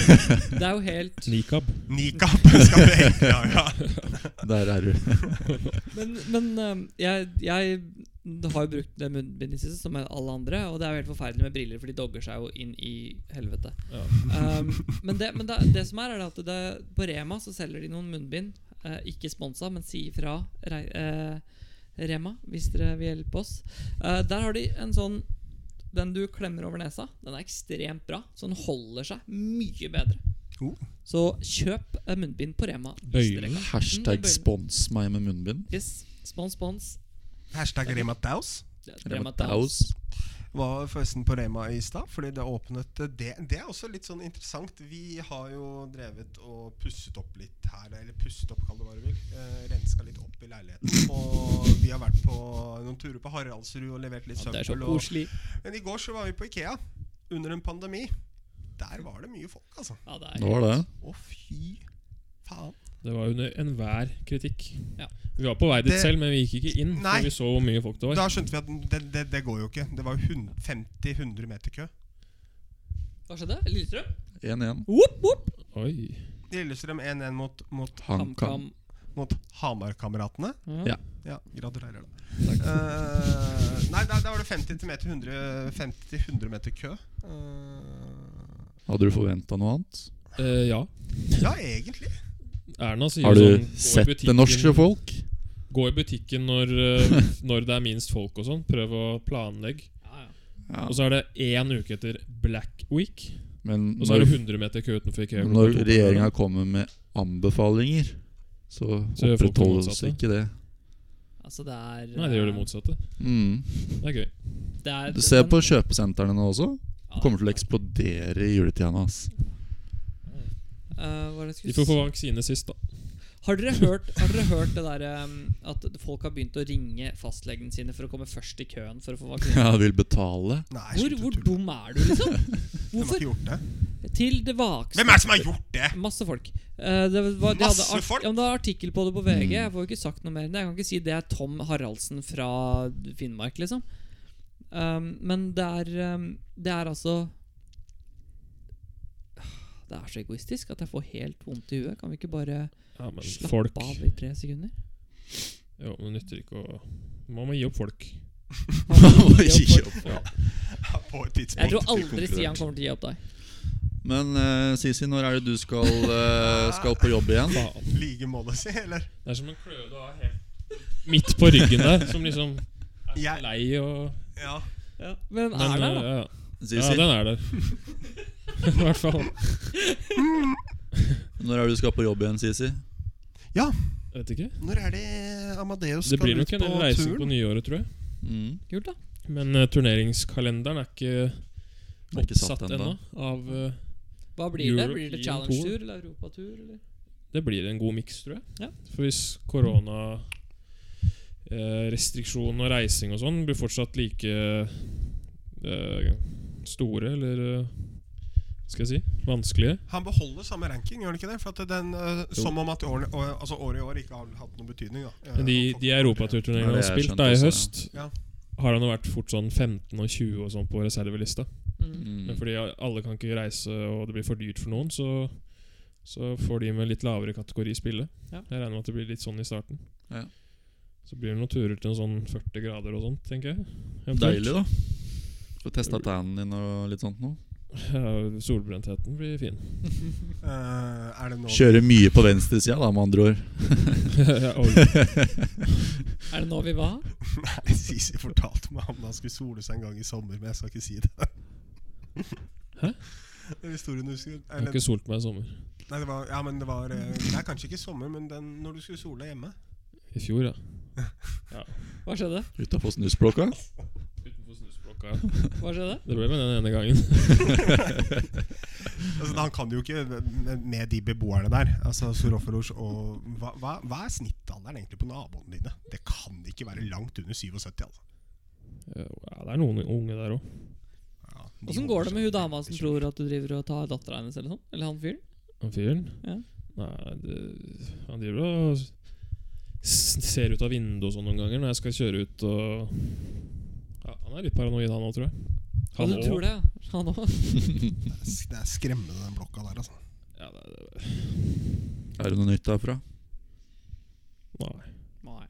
S2: Det er jo helt
S4: Nikab.
S1: Nikab skal du egentlig ha. Ja.
S3: Der er du.
S2: Men, men eh, jeg, jeg har jo brukt det munnbindet i det siste, som alle andre. Og det er jo helt forferdelig med briller, for de dogger seg jo inn i helvete.
S4: Ja.
S2: Um, men det, men det, det som er, er at det, på Rema så selger de noen munnbind. Eh, ikke sponsa, men si ifra Rei- eh, Rema hvis dere vil hjelpe oss. Eh, der har de en sånn Den du klemmer over nesa. Den er ekstremt bra, så den holder seg mye bedre.
S1: Oh.
S2: Så kjøp eh, munnbind på Rema. hvis dere
S4: Øylen.
S2: kan.
S3: Hashtag spons meg med munnbind.
S2: Yes. Spons, spons.
S1: Hashtag Rema Taus
S2: Rema Taus.
S3: Taus.
S1: var forresten på Rema i stad, fordi det åpnet eh, det. Det er også litt sånn interessant. Vi har jo drevet og pusset opp litt her, eller pusset opp, kall det hva du vil. Eh, renska litt opp i leiligheten. Og vi har vært på noen turer på Haraldsrud og levert litt
S2: Ja, det er så
S1: søppel. Og,
S2: koselig.
S1: men i går så var vi på Ikea, under en pandemi. Der var det mye folk, altså.
S2: Ja, det
S3: Det var det.
S1: Å, fy faen.
S4: Det var under enhver kritikk.
S2: Ja.
S4: Vi var på vei dit
S1: Det-
S4: selv, men vi gikk ikke inn.
S1: Nei.
S4: For vi så hvor mye folk det var.
S1: Da skjønte vi at den- det, det, det går jo ikke. Det var jo 100 50-100 meter kø.
S2: Hva skjedde? Lillestrøm?
S3: 1-1.
S2: Whoop, whoop.
S4: Oi.
S1: Lillestrøm 1-1 mot, mot,
S3: HamKam.
S2: HamKam.
S1: mot Hamar-kameratene.
S2: Ja.
S1: Ja, gratulerer, da. Eh, nei, da, da var det 50 til meter 100, 50 til 100 meter kø. Eh,
S3: Hadde du forventa noe annet?
S4: Eh, ja.
S1: ja, egentlig.
S4: Erna sier
S3: Har du
S4: sånn, gå i
S3: sett det
S4: butikken-
S3: norske folk?
S4: Gå i butikken når, eh, når det er minst folk og sånn. Prøv å planlegge.
S2: Ja, ja.
S3: Ja.
S4: Og så er det én uke etter Black Week,
S3: Men
S4: og så er det
S3: når,
S4: 100 meter kø utenfor IKEA. klokka
S3: når
S4: to på
S3: regjeringa
S4: morgenen.
S3: kommer med anbefalinger, så
S4: Så gjør folk det
S3: opprettholdes
S4: motsatte.
S3: ikke det.
S2: Altså, det er
S4: Nei, det gjør det motsatte.
S3: Mm.
S4: Det er gøy.
S2: Det er,
S3: Du ser
S2: men-
S3: på kjøpesentrene nå også.
S2: Ja,
S3: Det kommer til å eksplodere i juletida. nå, ass.
S2: Eh, hva er det
S4: De
S2: jeg
S4: får
S2: skulle
S4: få
S2: si?
S4: vaksine sist, da.
S2: Har dere hørt, har dere hørt det der, em, at folk har begynt å ringe fastlegene sine for å komme først i køen for å få vaksine?
S3: Jeg vil betale.
S1: Nei,
S2: Hvor,
S1: slutt å
S2: hvor
S1: tulle.
S2: dum er du, liksom?
S1: Hvem har
S2: Hvorfor?
S1: ikke gjort det?
S2: Til det vakste
S1: Hvem er det som har gjort det?
S2: Masse folk. Eh, det var, de
S1: Masse
S2: hadde art,
S1: folk?
S2: Ja, men det var artikkel på det på VG.
S3: Mm.
S2: Jeg får jo ikke sagt noe mer enn det. Jeg kan ikke si det er Tom Haraldsen fra Finnmark, liksom. Um, men det er um, Det er altså Det er så egoistisk at jeg får helt vondt i huet. Kan vi ikke bare
S4: Ja, men
S2: slappe
S4: folk
S2: av i tre sekunder?
S4: Jo, men det nytter ikke å Man må gi opp folk.
S3: Gi opp.
S1: På et tidspunkt.
S2: Jeg tror aldri Stian kommer til å gi opp deg.
S3: Men eh, Sisi, når er det du skal, eh, skal på jobb igjen?
S4: Faen.
S1: Like målet si, eller?
S4: Det er som en kløe du har helt midt på ryggen der, som liksom er så
S1: Jeg-
S4: lei og
S1: Ja.
S2: Men
S4: Men,
S2: er der, da.
S4: eh, ja, ja. ja,
S3: Sisi,
S4: den er der. I hvert fall.
S3: når er det du skal på jobb igjen, Sisi?
S4: Jeg Vet ikke.
S1: Når er det Amadeus
S4: Det blir
S1: skal
S4: nok
S1: ut
S4: en
S1: på
S4: reise på
S1: turen?
S4: nyåret, tror jeg.
S3: Mm.
S2: Kult, da.
S4: Men eh, turneringskalenderen er ikke
S3: Den er ikke satt
S4: oppsatt ennå.
S3: enda.
S4: Av eh,
S2: Hva blir det? Blir det
S4: European
S2: Challenge-tur
S4: Tour.
S2: eller Europatur? Eller?
S4: Det blir en god miks, tror jeg.
S2: Ja.
S4: For hvis korona eh, Restriksjon og reising og sånn blir fortsatt like eh, store, eller eh, hva skal jeg si vanskelige.
S1: Han beholder samme ranking, gjør han ikke det? For at den, øh, som om at årene, å, altså året i år ikke har hatt noen betydning. Da. Eh,
S4: Men de,
S1: for-
S4: de
S3: Ja,
S4: europaturturneringene
S3: det
S4: han
S3: har
S4: har
S3: jeg
S4: spilt
S3: skjønt
S4: da i
S3: også, ja.
S4: høst,
S1: Ja.
S4: har han jo vært fort sånn 15 og 20 og sånn på reservelista.
S2: Mm.
S3: Mm.
S4: Men Eh, fordi alle kan ikke reise, og det blir for dyrt for noen, så så får de med litt lavere kategori spille.
S2: Ja.
S4: Jeg regner med at det blir litt sånn i starten.
S3: Ja.
S4: Så blir det noen turer til noen sånn 40 grader og sånt, tenker jeg. Eventuelt.
S3: Deilig, da. Få testa tannen din og litt sånt noe.
S4: Ja, solbrentheten blir fin.
S1: Eh, er det nå
S3: Kjøre mye på venstresida, da, med andre ord.
S4: Oi.
S2: Er det nå vi var?
S1: Nei, Sisi fortalte meg om da han skulle sole seg en gang i sommer, men jeg skal ikke si det.
S4: Hæ?
S1: Det er historien du skulle
S4: jeg har
S1: eller,
S4: ikke solt meg i sommer.
S1: Nei, det var Ja, men det var eh, Det er kanskje ikke sommer, men den, når du skulle sole hjemme.
S4: I fjor, ja.
S2: Hva skjedde?
S3: Utafor snusblokka.
S4: Utenfor snusblokka.
S2: Hva skjedde?
S4: Det ble med den ene gangen.
S1: Altså, han kan jo ikke med- med de beboerne der. Altså Soroforos og hva, hva, hva er snittalderen egentlig på naboene dine? Det kan ikke være langt under 77. altså
S4: Eh, Ja, det er noen unge der òg.
S1: ja, de
S2: Åssen går
S1: holder
S2: det med
S1: seg
S2: hun dama som
S1: ikke-
S2: tror at du driver og tar dattera hennes, eller sånn? Eller han fyren?
S4: Han fyren.
S2: Ja.
S4: Nei, det, han driver og s- ser ut av vinduet og sånn noen ganger når jeg skal kjøre ut og ja, Han er litt paranoid, han òg, tror jeg.
S2: Ja, du
S4: også.
S2: tror det, ja. Han òg.
S1: Det er sk- Det er skremmende, den blokka der. altså
S4: Ja, det, det-
S3: Er det noe nytt derfra?
S4: nei.
S2: Nei.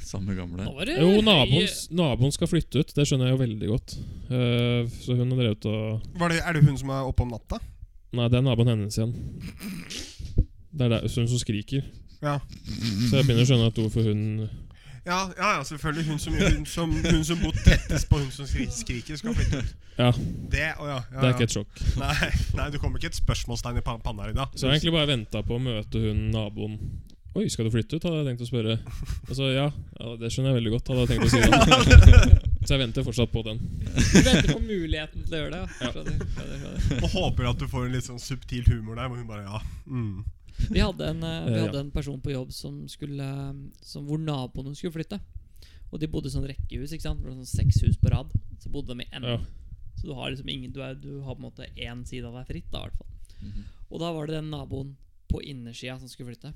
S3: Samme
S2: Nå
S3: gamle.
S2: var det
S4: Jo,
S2: høye-
S4: naboen, s- naboen skal flytte ut. Det skjønner jeg jo veldig godt. Eh, så hun har drevet og
S1: Var det, Er det hun som er oppe om natta?
S4: Nei, det er naboen hennes igjen. Det er der, så hun som skriker.
S1: Ja,
S4: Så jeg begynner å skjønne at hvorfor hun
S1: ja, ja, ja selvfølgelig. Hun som, hun, som, hun som bor tettest på hun som skri- skriker, skal flytte ut.
S4: Ja,
S1: Det, å ja, ja,
S4: det er
S1: ja.
S4: ikke et sjokk.
S1: Nei, nei, du kommer ikke et spørsmålstegn i pa- panna i dag.
S4: Så jeg har egentlig bare venta på å møte hun naboen. Oi, skal du flytte ut? hadde jeg tenkt å spørre. Og så ja, ja det skjønner jeg veldig godt, hadde jeg tenkt å si. Da. Så jeg venter fortsatt på den.
S2: Du venter på muligheten til å gjøre det, ja. Skjønner, skjønner, skjønner.
S1: Og håper at du får en litt sånn subtil humor der, hvor hun bare ja. Mm.
S2: Vi hadde en, eh, vi
S4: Eh, ja.
S2: hadde en person på jobb som skulle som, hvor naboene skulle flytte. Og de bodde i sånn rekkehus, ikke sant? Det var sånn seks hus på rad. Så bodde de i enden.
S4: Ja.
S2: Så du har liksom ingen Du, er, du har på en måte én side av deg fritt, da, i hvert fall.
S3: Mm.
S2: Og da var det den naboen på innersida som skulle flytte.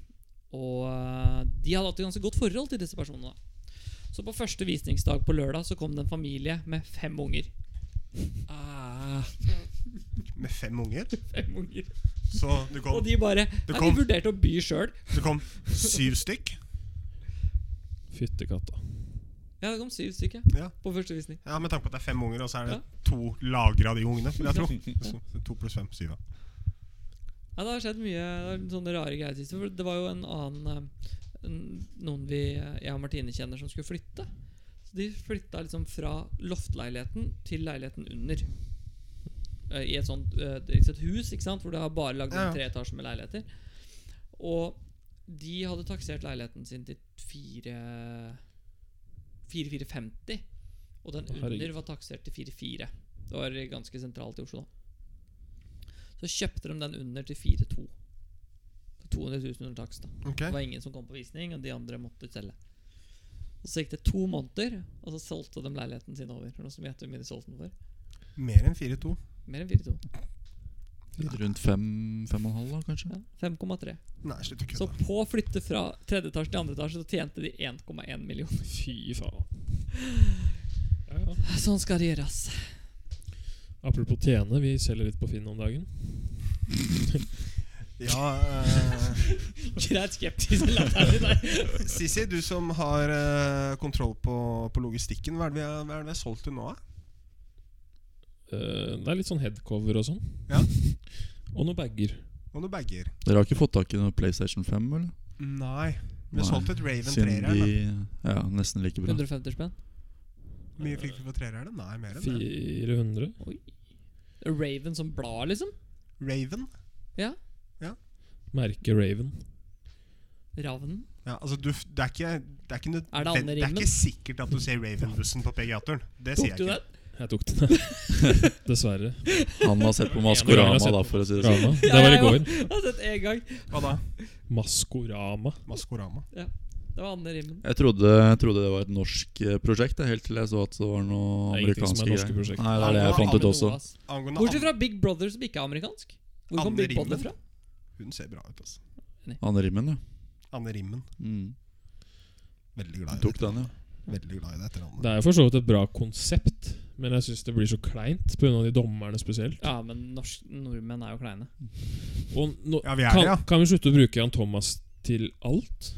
S2: Og øh, de hadde hatt et ganske godt forhold til disse personene. da. Så på første visningsdag på lørdag så kom det en familie med fem unger. Ah,
S1: Med fem unger.
S2: fem unger.
S1: Så du
S2: Og
S1: kom,
S2: de bare
S1: Det
S2: Nei,
S1: kom-
S2: Vi vurderte å by sjøl.
S1: du kom syv stykk.
S4: Fyttekatta.
S2: Ja, det kom syv stykker
S1: Ja.
S2: på første visning.
S1: Ja, Med tanke på at det er fem unger, og så er det
S2: Ja.
S1: to lagre av de ungene. vil jeg tro Så To pluss fem, syv. ja.
S2: Ja, det har skjedd mye det er sånne rare greier sist. For det var jo en annen eh, en- Noen vi, eh, jeg og Martine kjenner, som skulle flytte. Så de flytta liksom fra loftleiligheten til leiligheten under. Eh, I et sånt eh, det er liksom et hus ikke sant? hvor det har bare lagd
S1: Ja, ja.
S2: sånn tre etasjer med leiligheter. Og de hadde taksert leiligheten sin til fire- 4450. Og den
S4: Å, herregud.
S2: under var taksert til 44. Det var ganske sentralt i Oslo. da Så kjøpte de den under til 42. For 200 000 under takst. da
S1: Ok
S2: Det var ingen som kom på visning, og de andre måtte selge. Og Så gikk det to måneder, og så solgte de leiligheten sin over. Noe som gjetter hvor mye de solgte den for.
S1: Mer enn fire-to.
S2: Mer enn 42.
S3: Rundt fem, fem og en halv, da, kanskje?
S2: Ja, 5,3.
S1: Nei, slutt å
S2: Så
S1: kødde.
S2: på å flytte fra tredje etasje til andre etasje, så tjente de 1,1 million.
S4: Fy faen. Ja, ja.
S2: Sånn skal det gjøres.
S4: Apropos tjene, vi selger litt på Finn om dagen.
S1: Ja, eh,
S2: Greit skeptisk latter til deg.
S1: Sisi, du som har eh, kontroll på, på logistikken, hva er det vi har, hva er det vi har solgt til nå? da?
S4: Eh, det er litt sånn headcover og sånn.
S1: Ja.
S4: Og noen bager.
S1: Og noen bager.
S3: Dere har ikke fått tak i noe PlayStation 5, eller?
S1: Nei. Vi har
S3: Nei.
S1: solgt et Raven
S3: Siden
S1: 3-er.
S3: de Ja, nesten like bra.
S2: 150 spenn.
S1: Mye fikk vi på trererne? Nei, mer enn det.
S4: 400.
S2: Oi. Raven som blad, liksom?
S1: Raven?
S4: Merke Raven.
S2: Ravnen?
S1: Ja, altså du, f- det, er ikke, det, er ikke nød,
S2: Er det
S1: det,
S2: andre
S1: er
S2: rimmen?
S1: ikke sikkert at du ser Raven-bussen på PGA-turen. Det sier
S2: Tok
S1: jeg
S2: du
S1: ikke.
S2: den?
S4: Jeg tok den. Dessverre.
S3: Han har sett på
S4: Ja,
S3: Maskorama,
S4: jeg har sett
S3: da,
S4: på
S3: for å si det sånn.
S4: Rama. Det var i
S2: Ja,
S4: går.
S2: ja, Jeg har sett én gang.
S1: Hva da?
S4: Maskorama.
S1: Maskorama.
S2: Det var Anne Rimmen.
S3: Jeg trodde, jeg trodde det var et norsk eh, prosjekt, jeg, helt til jeg så at det var noe
S4: Det er ingenting
S3: amerikanske
S4: som er norske
S3: greier.
S4: prosjekt.
S3: Nei, det er det
S1: Ja,
S3: jeg fant ut også.
S1: Angående
S2: Bortsett
S1: Anne,
S2: fra Big Brother, som ikke er amerikansk. Hvor kom
S1: Anne
S2: Big Brother
S1: Rimmen?
S2: fra?
S1: hun ser bra ut, altså.
S3: Anne Rimmen, ja.
S1: Anne Rimmen.
S3: Mm.
S1: Veldig glad i
S3: Tok
S1: det.
S3: den, ja.
S1: Veldig glad i det etternavnet.
S4: Det er jo for så vidt et bra konsept, men jeg syns det blir så kleint pga. de dommerne spesielt.
S2: Ja, men norsk, nordmenn er jo kleine.
S4: Og nå,
S1: Ja, vi er
S4: kan,
S1: det, ja.
S4: kan vi slutte å bruke Jan Thomas til alt?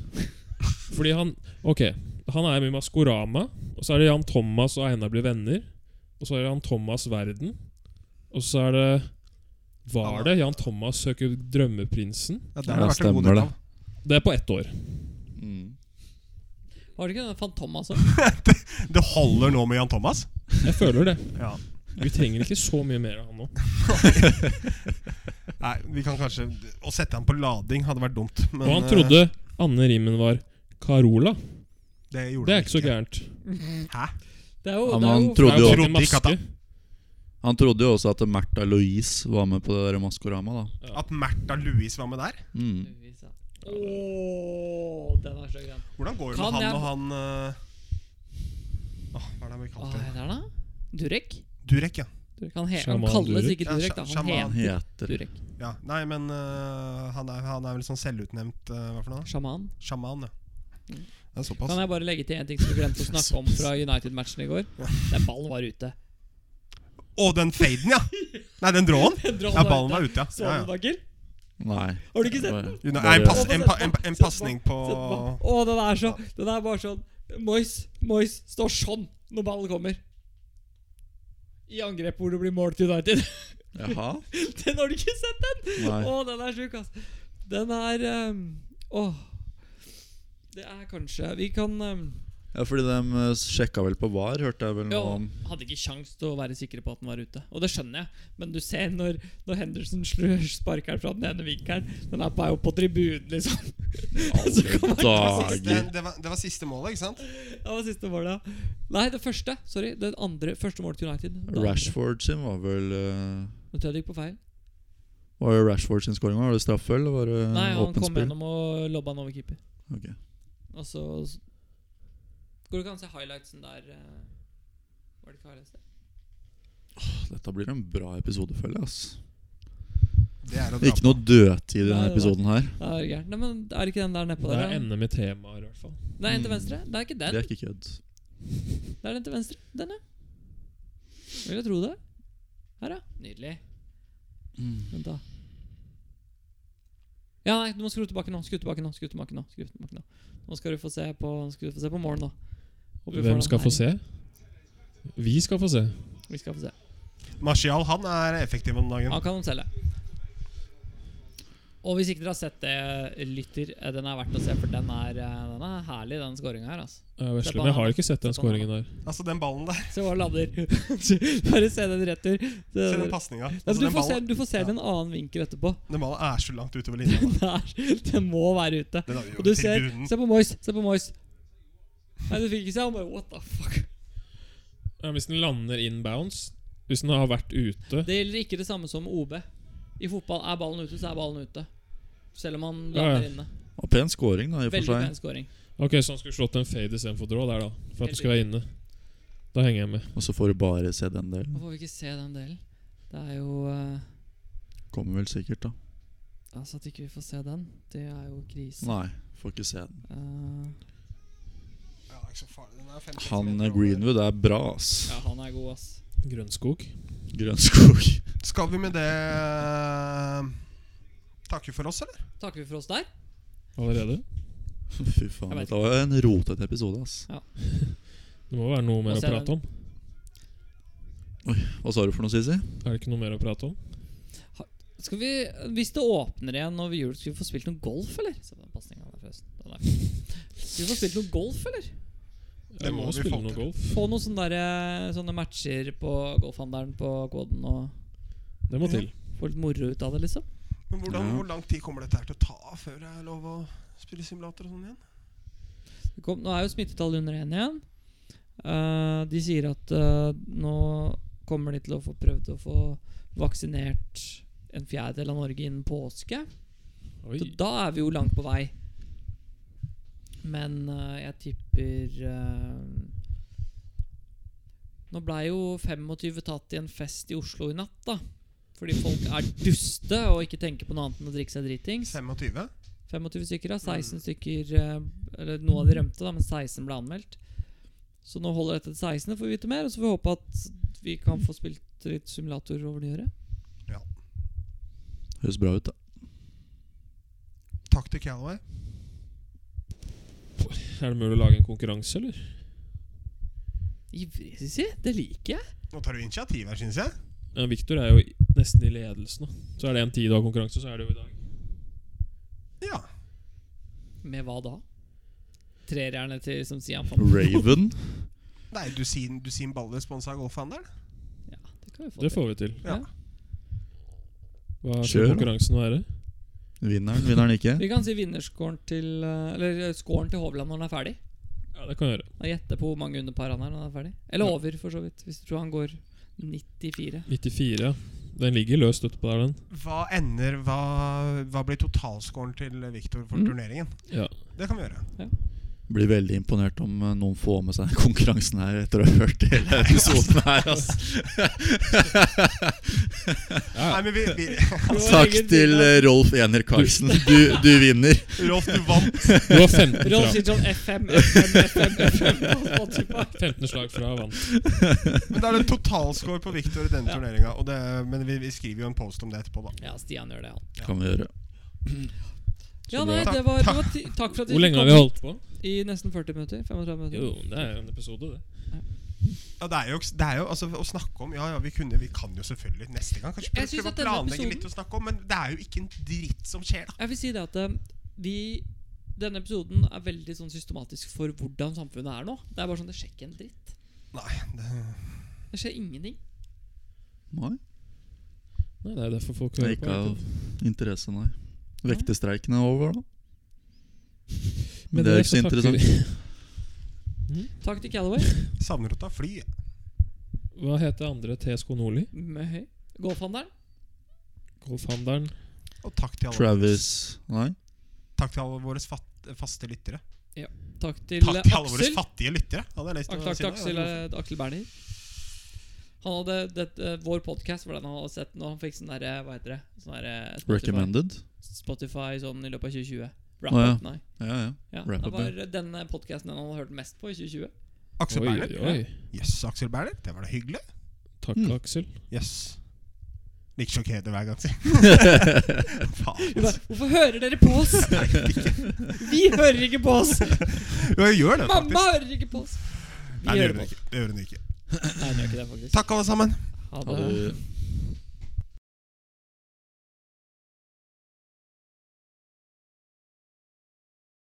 S4: Fordi han Ok, han er med i Maskorama, og så er det Jan Thomas og Einar blir venner. Og så er det Jan Thomas Verden. Og så er det Var det Jan Thomas søker drømmeprinsen?
S1: Ja, det har
S3: Ja,
S1: vært en god
S3: stemmer
S1: del
S3: det.
S1: av.
S4: Det er på ett år.
S3: Mm.
S2: Var det ikke den altså? Fantomas også?
S1: Det holder nå med Jan Thomas.
S4: Jeg føler det.
S1: Ja.
S4: Vi trenger ikke så mye mer av han nå.
S1: Nei, vi kan kanskje Å sette han på lading hadde vært dumt. Men,
S4: Og han
S1: eh,
S4: trodde Anne Rimmen var Carola.
S1: Det gjorde
S4: Det
S1: han
S4: er ikke så gærent.
S1: Hæ?
S2: Det er jo,
S3: Han-
S2: det er
S3: han
S2: jo
S4: Det
S3: trodde
S4: er jo
S3: jo-
S4: til en
S1: Trodde ikke at
S4: maske.
S3: Han trodde jo også at Märtha Louise var med på det der Maskorama, da.
S1: At Märtha Louise var med der?
S3: Mm.
S2: Åh, den er så grønn.
S1: Hvordan går det
S2: Kan
S1: med han
S2: jeg-
S1: og han eh, Åh, Hva er det vi
S2: Hva
S1: kalte det?
S2: heter han, da? Durek?
S1: Durek, ja.
S2: Durek han, he han
S4: Sjaman
S2: kalles
S4: Durek.
S2: ikke
S1: Ja,
S2: Durek, da.
S1: sja-
S2: Han
S1: sjaman.
S3: Han
S2: heter
S3: heter
S2: Durek.
S1: ja. Nei, men eh, han, er, han er vel sånn selvutnevnt eh, Hva for noe?
S2: Sjaman.
S1: Sjaman, ja. Det er såpass.
S2: Kan jeg bare legge til en ting som vi glemte å snakke om fra United-matchen i går? Den ballen var ute.
S1: Å, den faden, ja! Nei, den dråen? Ja, ballen var ute,
S2: Så
S1: ja.
S2: du
S1: ja, ja.
S2: den, Bakker?
S3: Nei.
S2: Har du ikke sett den?
S1: Una- Nei,
S3: Bare-
S1: en, pass,
S2: Bare-
S1: en, pa, en, pa- en
S2: Sett på,
S1: pasning på
S2: Sett på. Å, den er så Den er bare sånn Moyes, Moyes står sånn når ballen kommer. I angrep hvor det blir mål til United.
S3: Jaha?
S2: Den har du ikke sett, den? Å,
S3: Nei.
S2: den er sjuk, ass. Den er um, Åh. Det er kanskje Vi kan um,
S3: Ja, fordi de sjekka vel på VAR, hørte jeg vel
S2: Ja,
S3: noe om.
S2: hadde ikke sjans til å være sikre på at den var ute. Og det skjønner jeg, men du ser når, når Henderson slur, sparker den fra den ene vinkelen Den er bare opp på tribunen, liksom. Så kan man-
S1: Det var, siste,
S3: Dager.
S1: det, var, det var siste målet, ikke sant?
S2: Det var siste målet. ja. Nei, det første. Sorry. Det andre, første målet til United. Det andre.
S3: Rashford sin var vel eh,
S2: Nå tror jeg det gikk på feil.
S3: Var det Rashford sin scoring? Var det straffe eller var det
S2: Nei, han
S3: åpent
S2: kom
S3: spill?
S2: gjennom og lobba den over keeper.
S3: Ok.
S2: Og så Går det ikke an å se highlightsen der? eh? Var det ikke highlights der?
S3: Dette blir en bra episode, føler jeg. ass.
S1: Det er å dra
S3: Ikke noe dødtid i
S2: Nei,
S3: denne
S2: det var-
S3: episoden her.
S2: Ja, det er gærent. Nei, men er det ikke den der nedpå
S4: Det
S2: der?
S4: er
S2: da?
S4: ender med temaer, i hvert fall.
S2: Nei, en til venstre. Det er ikke den.
S3: Det er ikke kødd.
S2: Det er den til venstre. Den, ja. Vil jeg tro det. Her, ja. Nydelig. Vent, da. Ja, nei, du må skru tilbake nå. Skru tilbake nå. Skru tilbake nå. Skru tilbake nå. nå skal du få se på Nå skal du få se på morgen, da. Håper vi får
S4: Hvem
S2: den
S4: skal
S2: her.
S4: få se? Vi skal få se.
S2: Vi skal få se.
S1: Martial han er effektiv om dagen.
S2: Han kan omselge. Og hvis ikke dere har sett det, lytter, eh, den er verdt å se, for den er, eh, den er herlig, den scoringa her. altså
S4: Jeg,
S2: Se
S4: vesler,
S2: på
S4: men
S2: han,
S4: jeg har
S2: da.
S4: jo ikke sett den
S2: Se på han,
S4: scoringen der.
S1: Altså, den ballen der.
S2: Se hva lader. Bare se den retur.
S1: Se den pasninga.
S2: Ja, men
S1: Altså,
S2: du,
S1: den,
S2: får se,
S1: ballen-
S2: du får se
S1: Ja.
S2: den i en annen vinkel etterpå.
S1: den ballen er så langt utover linja. da.
S2: Den, er, den må være ute.
S1: Den er jo
S2: Og du ser,
S1: tribunen.
S2: se på Moyes, se på Moyes. Nei, du fikk ikke se. Han bare what the fuck.
S4: Ja, hvis den lander in bounds Hvis den har vært ute
S2: Det gjelder ikke det samme som OB. I fotball er ballen ute, så er ballen ute. Selv om han
S4: Ja, ja.
S2: lander inne.
S3: Og pen scoring, da, i og for
S2: Veldig pen
S3: seg.
S2: scoring.
S4: Ok, så han skulle slått en fade istedenfor draw der, da. For at det skal være inne. Da henger jeg med.
S3: Og så får du bare se den delen.
S2: Nå får vi ikke se den delen. Det er jo eh,
S3: Kommer vel sikkert, da.
S2: Altså At ikke vi får se den, det er jo krise.
S3: Nei, får ikke se den.
S2: Eh,
S1: Ja, det er ikke så farlig. Den er 5-6
S3: Han
S1: meter
S3: eh,
S1: over.
S3: Greenwood er bra, ass.
S2: ja, han er god, ass.
S4: Grønnskog.
S3: Grønnskog.
S1: Skal vi med det eh, takke for oss, eller?
S2: Takker vi for oss der?
S4: Allerede.
S3: Fy faen,
S2: Jeg vet
S3: dette var en rotete episode, ass.
S4: Det må jo være noe
S2: Og
S4: mer å
S2: se den.
S4: prate om.
S3: Hva sa du for noe, Sisi?
S4: Er det ikke noe mer å prate om?
S2: Skal vi, Hvis det åpner igjen over jul, skal vi få spilt noe golf, eller? Se på den pasningen der forresten. Den er fin. Skal vi få spilt noe golf, eller?
S1: Det
S4: Jeg
S1: må
S4: må
S1: vi
S4: spille
S1: få
S4: noe
S1: til.
S4: golf.
S2: Få noen sånne, der, eh, sånne matcher på golfhandelen på koden og
S4: Det må til.
S2: få litt moro ut av det, liksom.
S1: Men hvordan,
S3: Ja.
S1: Hvor lang tid kommer dette her til å ta før det er lov å spille simulator og sånn igjen?
S2: Det Kom, nå er jo smittetallet under én igjen. Eh, de sier at eh, nå kommer de til å få prøvd å få vaksinert en fjerdedel av Norge innen påske.
S4: Oi.
S2: Så da er vi jo langt på vei. Men eh, jeg tipper eh, Nå blei jo 25 tatt i en fest i Oslo i natt, da. Fordi folk er duste og ikke tenker på noe annet enn å drikke seg dritings.
S1: 25?
S2: 25 stykker, da. 16 stykker eh, Eller noen av de rømte, da, men 16 ble anmeldt. Så nå holder dette til 16, får vi vite mer. Og så får vi håpe at vi kan få spilt litt simulator over nyåret.
S3: Høres bra ut, da.
S1: Takk til Calaway.
S4: Er det mulig å lage en konkurranse, eller?
S2: Ivrig, Sissi. Det liker jeg.
S1: Nå tar du initiativ her, syns jeg.
S4: Ja, Victor er jo i- nesten i ledelsen. Da. Så er det en ti-dag-konkurranse, så er det jo i dag.
S1: Ja.
S2: Med hva da? Trerjerne til som sier han fant
S3: Raven.
S1: Nei, du sier, du sier en ballrespons av golfhandelen?
S2: Ja, det kan vi få
S4: Det
S2: til.
S4: får vi til.
S1: Ja.
S4: Hva
S3: Kjør,
S4: skal
S3: da.
S4: konkurransen være?
S3: Vinneren, vinneren ikke.
S2: Vi kan si vinnerscoren til eh, Eller eh, scoren til Hovland når den er ferdig.
S4: Ja, det kan jeg gjøre.
S2: Og gjette på hvor mange underpar han er når han er ferdig. Eller over, for så vidt. Hvis du tror han går 94.
S4: 94, ja. Den ligger løst utpå der, den.
S1: Hva ender Hva, hva blir totalscoren til Victor for
S2: Mm.
S1: turneringen?
S4: Ja.
S1: Det kan vi gjøre.
S3: Blir veldig imponert om eh, noen får med seg konkurransen her etter å ha hørt hele episoden her. ass.
S1: Nei, men vi, vi
S3: Takk til eh, Rolf Ener Karlsen. Du, du vinner.
S1: Rolf, du vant.
S4: Du var 15
S2: Rolf
S4: fra.
S2: sier sånn FM, FM, FM, FM på Spotify.
S4: 15 slag fra vant.
S1: Men da er det totalscore på Victor i denne
S2: Ja.
S1: turneringa. og det- Men vi, vi skriver jo en post om det etterpå, da.
S2: Ja, Stian gjør det, han.
S3: Kan vi gjøre.
S2: Ja,
S4: Så
S2: nei,
S1: bra.
S2: det var, det var ti Takk for at
S4: Hvor
S2: dere
S4: lenge har
S2: kom
S4: vi holdt på?
S2: hit i nesten 40 minutter. 35 minutter.
S4: Jo, det er jo en episode, det.
S1: Ja, det er jo, det er jo altså, Å snakke om Ja, ja, vi, kunne, vi kan jo selvfølgelig neste gang kanskje
S2: Jeg
S1: prøve
S2: synes
S1: å
S2: at denne
S1: planlegge
S2: episoden-
S1: litt å snakke om, men det er jo ikke en dritt som skjer, da.
S2: Jeg vil si det at eh, vi denne episoden er veldig sånn systematisk for hvordan samfunnet er nå. Det er bare sånn, det skjer ikke en dritt.
S1: Nei, det,
S2: Det skjer ingenting.
S3: Nei,
S4: Nei, Det er jo derfor folk
S3: det
S4: hører
S3: er
S4: på.
S3: ikke
S4: vet
S3: av interesse, nei. Vektestreiken er over, da.
S4: du.
S3: Men det er ikke så
S4: takker
S3: interessant.
S2: Takk til Callaway.
S1: savner å ta fly. jeg.
S4: vi- Hva heter andre TSK Nordli?
S2: Med høy. Golfhandelen.
S4: Golfhandelen?
S1: Og takk til alle,
S3: Travis Nei.
S1: Takk til alle våre fat, faste lyttere.
S2: Takk til
S1: Takk til alle våre
S2: Aksel.
S1: fattige lyttere. Hadde jeg lyst
S2: Takk,
S1: til å
S2: takk
S1: si
S2: til
S1: det.
S2: Aksel, eh, Aksel Berner. Han hadde dette, Vår podkast var den han hadde sett nå. Han fikk sånn derre Hva heter det? Sånn derre Spotify,
S3: Recommended.
S2: Spotify sånn i løpet av 2020. Wrap
S3: Å, ja.
S2: up, nei.
S3: Ja, ja.
S2: Ja,
S3: Wrap
S2: det
S3: up,
S2: var denne podkasten han hadde hørt mest på i 2020.
S1: Aksel
S4: Oi,
S1: Berner.
S4: oi.
S1: Jøss, yes, Aksel Berner. Det var da hyggelig.
S4: Takk,
S3: Mm.
S4: Aksel.
S1: Jøss. Like sjokkert hver gang, si. Faen.
S2: Vi bare, Hvorfor hører dere på oss?! Vi hører ikke på oss!
S1: Jo, jeg gjør det,
S2: Mamma
S1: faktisk.
S2: hører ikke på oss! Vi
S1: Nei, det
S2: hører
S1: gjør
S2: på
S1: hun
S2: oss.
S1: ikke. Det gjør hun ikke.
S2: Nei, det gjør ikke det, faktisk.
S1: Takk, alle sammen.
S2: Ha
S3: Ha
S2: det.
S3: det.